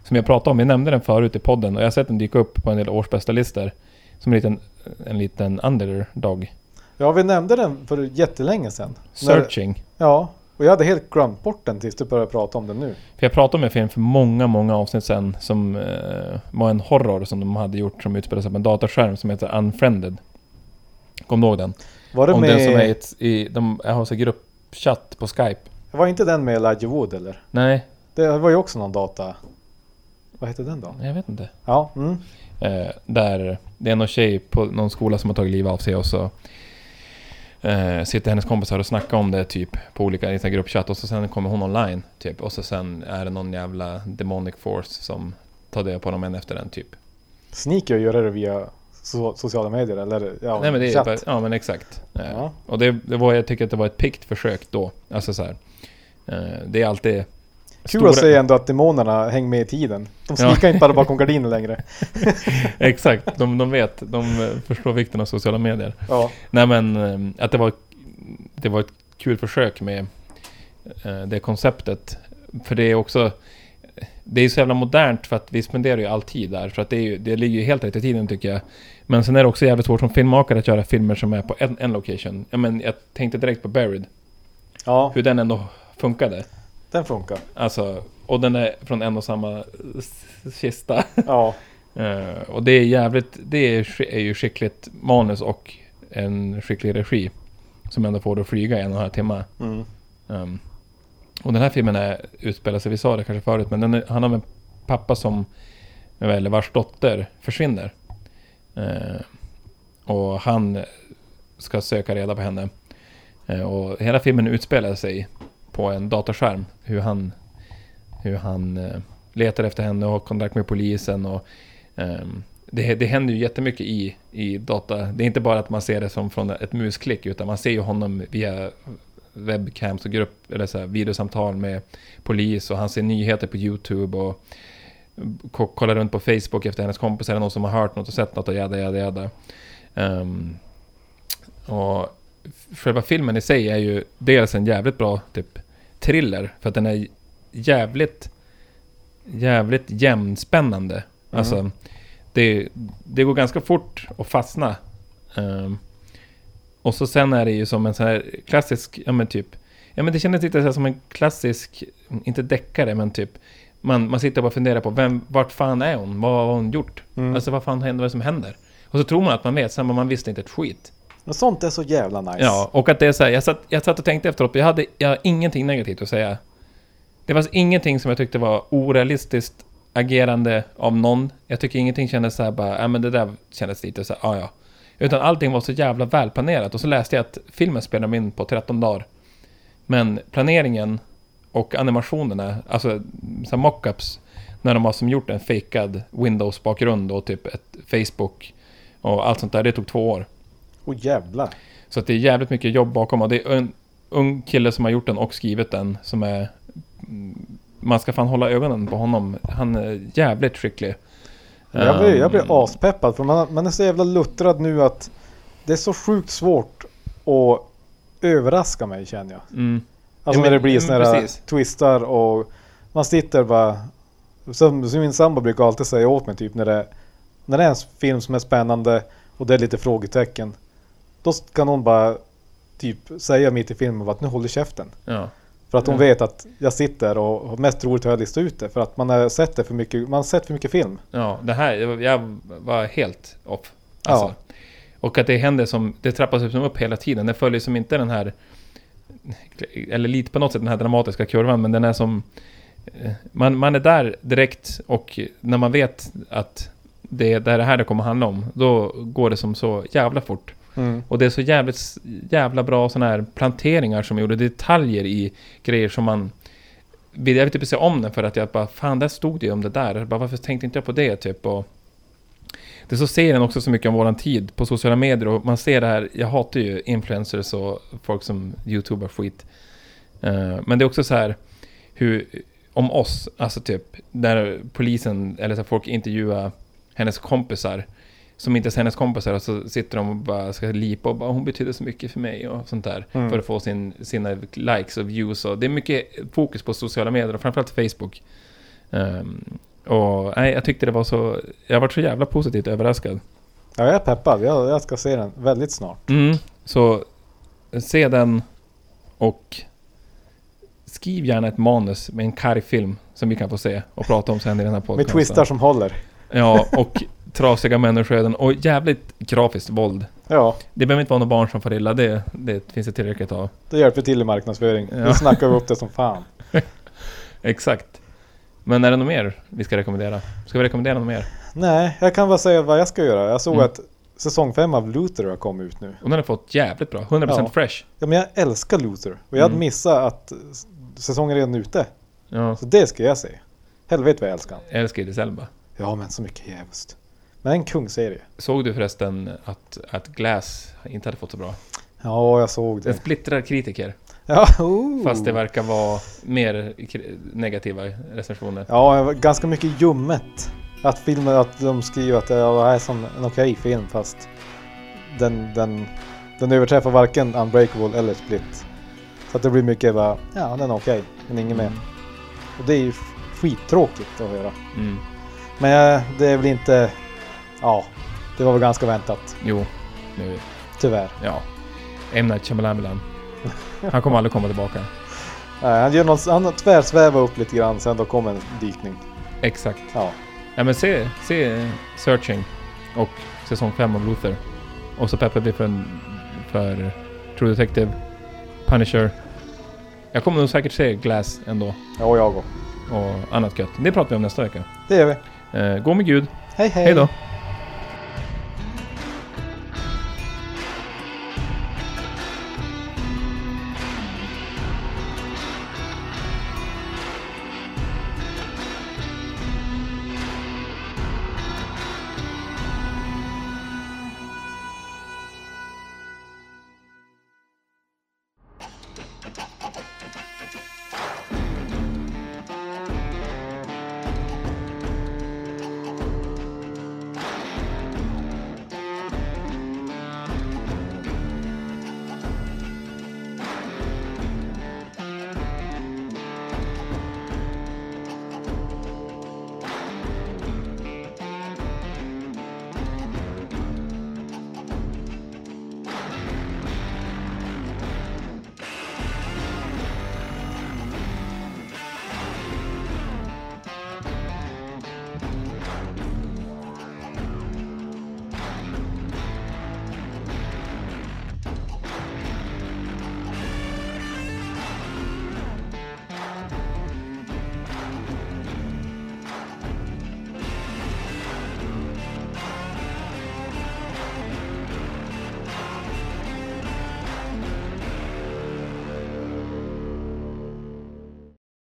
S1: Som jag pratade om, jag nämnde den förut i podden och jag har sett den dyka upp på en del årsbästa listor Som en liten, en liten underdog.
S2: Ja, vi nämnde den för jättelänge sedan.
S1: Searching.
S2: När, ja, och jag hade helt glömt bort den tills du började prata om den nu.
S1: För jag pratade om en film för många, många avsnitt sedan som eh, var en horror som de hade gjort som utspelade sig på en dataskärm som heter Unfriended. Kom du ihåg den?
S2: Var det
S1: om
S2: med...
S1: den som är i, ett, i de har så gruppchatt på Skype.
S2: Var inte den med Elijah Wood eller?
S1: Nej,
S2: Det var ju också någon data... Vad hette den då?
S1: jag vet inte.
S2: Ja, mm.
S1: Eh, där det är någon tjej på någon skola som har tagit livet av sig och så eh, sitter hennes kompisar och snackar om det typ på olika i sina gruppchatt och så sen kommer hon online typ och så sen är det någon jävla demonic force som tar död på dem en efter en typ.
S2: Sneaky att göra det via so sociala medier eller ja,
S1: Nej men det är
S2: chatt.
S1: bara, ja men exakt. Eh,
S2: Ja.
S1: Och det, det var, jag tycker att det var ett pikt försök då. Alltså så här. Eh, det är alltid...
S2: Kul
S1: stora-
S2: att se ändå att demonerna hänger med i tiden. De sneakar inte bara
S1: (laughs)
S2: bakom gardinen längre.
S1: Exakt, de, de vet. De eh, förstår vikten av sociala medier.
S2: Ja,
S1: Nej men eh, att det var, det var ett kul försök med eh, det konceptet. För det är också... Det är så jävla modernt för att vi spenderar ju all tid där. Så att det, är ju, det ligger ju helt rätt i tiden tycker jag. Men sen är det också jävligt svårt som filmmakare att göra filmer som är på en, en location. Jag, men, jag tänkte direkt på Buried.
S2: ja
S1: Hur den ändå funkade.
S2: den funkar.
S1: Alltså, och den är från en och samma s- kista.
S2: Ja,
S1: Eh, och det är jävligt, det är, sk- är ju skickligt manus och en skicklig regi. Som ändå får det att flyga i en och en halv timme.
S2: mm.
S1: Ehm, och den här filmen är, utspelar sig, vi sa det kanske förut, men den är, handlar om en pappa som, eller vars dotter försvinner. Eh, och han ska söka reda på henne. Eh, och hela filmen utspelar sig på en dataskärm. Hur han, hur han eh, letar efter henne och har kontakt med polisen. Och, ehm, det, det händer ju jättemycket i, i data. Det är inte bara att man ser det som från ett musklick, utan man ser ju honom via webcams och grupp, eller så här, videosamtal med polis och han ser nyheter på YouTube och ko- kollar runt på Facebook efter hennes kompisar eller någon som har hört något och sett något och jada jada jada. Ehm, och själva filmen i sig är ju dels en jävligt bra typ thriller för att den är jävligt jävligt jämnspännande. Alltså det, det går ganska fort att fastna. Ehm, och så sen är det ju som en sån här klassisk, ja men typ, ja men det kändes lite så här som en klassisk, inte deckare men typ, man, man sitter och bara funderar på vem, vart fan är hon? Vad har hon gjort?
S2: Mm.
S1: Alltså vad fan händer, vad är det som händer? Och så tror man att man vet, sen men man visste inte ett skit.
S2: Men sånt är så jävla nice.
S1: Ja, och att det är så här, jag satt, jag satt och tänkte efteråt, jag hade, jag har ingenting negativt att säga. Det var ingenting som jag tyckte var orealistiskt agerande av någon. Jag tycker ingenting kändes så här bara, ja men det där kändes lite så här, ja ja. Utan allting var så jävla välplanerat och så läste jag att filmen spelade in på 13 dagar. Men planeringen och animationerna, alltså så här mockups, när de har som gjort en fejkad Windows-bakgrund och typ ett Facebook och allt sånt där, det tog två år.
S2: Åh jävlar.
S1: Så att det är jävligt mycket jobb bakom och det är en ung kille som har gjort den och skrivit den som är... mm, Man ska fan hålla ögonen på honom. Han är jävligt skicklig.
S2: Jag blir, jag blir
S1: Ehm,
S2: aspeppad för man, man är så jävla luttrad nu att det är så sjukt svårt att överraska mig känner jag.
S1: Mm,
S2: Alltså
S1: Ja, men-
S2: när det blir
S1: mm,
S2: såna här
S1: precis.
S2: twistar och man sitter bara... Som, som min sambo brukar alltid säga åt mig typ när det, när det är en film som är spännande och det är lite frågetecken. Då kan hon bara typ säga mitt i filmen bara att nu håller käften.
S1: ja.
S2: För att hon
S1: Mm.
S2: vet att jag sitter och mest troligt har jag listat ut det för att man har sett det för mycket, man har sett för mycket film.
S1: Ja, det här, jag- jag var helt off. Alltså. Och att det händer som, det trappas upp som upp hela tiden. Det följer som inte den här, eller lite på något sätt den här dramatiska kurvan, men den är som, eh, man, man är där direkt och när man vet att det, det är det här det kommer handla om, då går det som så jävla fort.
S2: Mm.
S1: Och det är så jävligt, jävla bra sådana här planteringar som gjorde detaljer i grejer som man... vill- Jag vill typ se om den för att jag bara, fan där stod det ju om det där. Jag Bara, varför tänkte inte jag på det typ? Och det så ser den också så mycket om våran tid på sociala medier och man ser det här, jag hatar ju influencers och folk som youtubar skit. Eh, Men det är också så här hur, om oss, alltså typ där polisen eller så här, folk intervjuar hennes kompisar som inte är hennes kompisar och så sitter de och bara ska lipa och bara hon betyder så mycket för mig och sånt där.
S2: Mm.
S1: För att få sin, sina likes och views och det är mycket fokus på sociala medier och framförallt Facebook. Ehm, och nej, jag tyckte det var så, jag var så jävla positivt överraskad.
S2: Ja, jag är peppad. Jag, jag ska se den väldigt snart.
S1: Mm. Så eh, se den och skriv gärna ett manus med en karg film som vi kan få se och prata om sen i den här
S2: Med
S1: podcasten.
S2: twistar som håller.
S1: Ja, och trasiga människoöden och jävligt grafiskt våld.
S2: Ja,
S1: Det behöver inte vara några barn som far illa, det, det finns det tillräckligt av.
S2: det hjälper till i marknadsföring.
S1: Ja.
S2: Nu snackar vi upp det som fan.
S1: Exakt. Men är det något mer vi ska rekommendera? Ska vi rekommendera något mer?
S2: Nej, jag kan bara säga vad jag ska göra. Jag såg
S1: Mm.
S2: att säsong 5 av Luther har kommit ut nu.
S1: Och den har fått jävligt bra, 100%
S2: Ja.
S1: fresh.
S2: Ja, men jag älskar Luther och jag hade
S1: Mm.
S2: missat att eh, s- säsongen redan är ute.
S1: Ja,
S2: Så det ska jag se. Helvete vad jag älskar han.
S1: jag älskar Idris Elba.
S2: Ja, men så mycket jävligt. Men en kungserie.
S1: Såg du förresten att, att Glass inte hade fått så bra?
S2: Ja, jag såg
S1: Den
S2: det.
S1: splittrar kritiker.
S2: Ja, oh.
S1: Fast det verkar vara mer kri- negativa recensioner.
S2: Ja, jag var ganska mycket ljummet. Att filmen, att de skriver att det här är som en okej film fast den, den, den överträffar varken Unbreakable eller Split. Så att det blir mycket bara, ja den är okej, men ingen mer. Och det är ju skittråkigt att höra.
S1: Mm.
S2: Men eh, det är väl inte, ja, det var väl ganska väntat,
S1: Jo, nu,
S2: tyvärr.
S1: ja. M. Night Shyamalan. Han kommer aldrig komma tillbaka.
S2: Nej, Eh, han gör någon, han tvärsvävar upp lite grann sen då kom en dykning.
S1: Exakt.
S2: Ja,
S1: Ja, men se, se Searching och säsong 5 av Luther. Och så peppar vi för, en, för True Detective, Punisher. Jag kommer nog säkert se Glass ändå
S2: ja och jag går.
S1: och annat gött. Det pratar vi om nästa vecka.
S2: Det gör vi.
S1: Eh, gå med Gud.
S2: Hej hej!
S1: Hej då!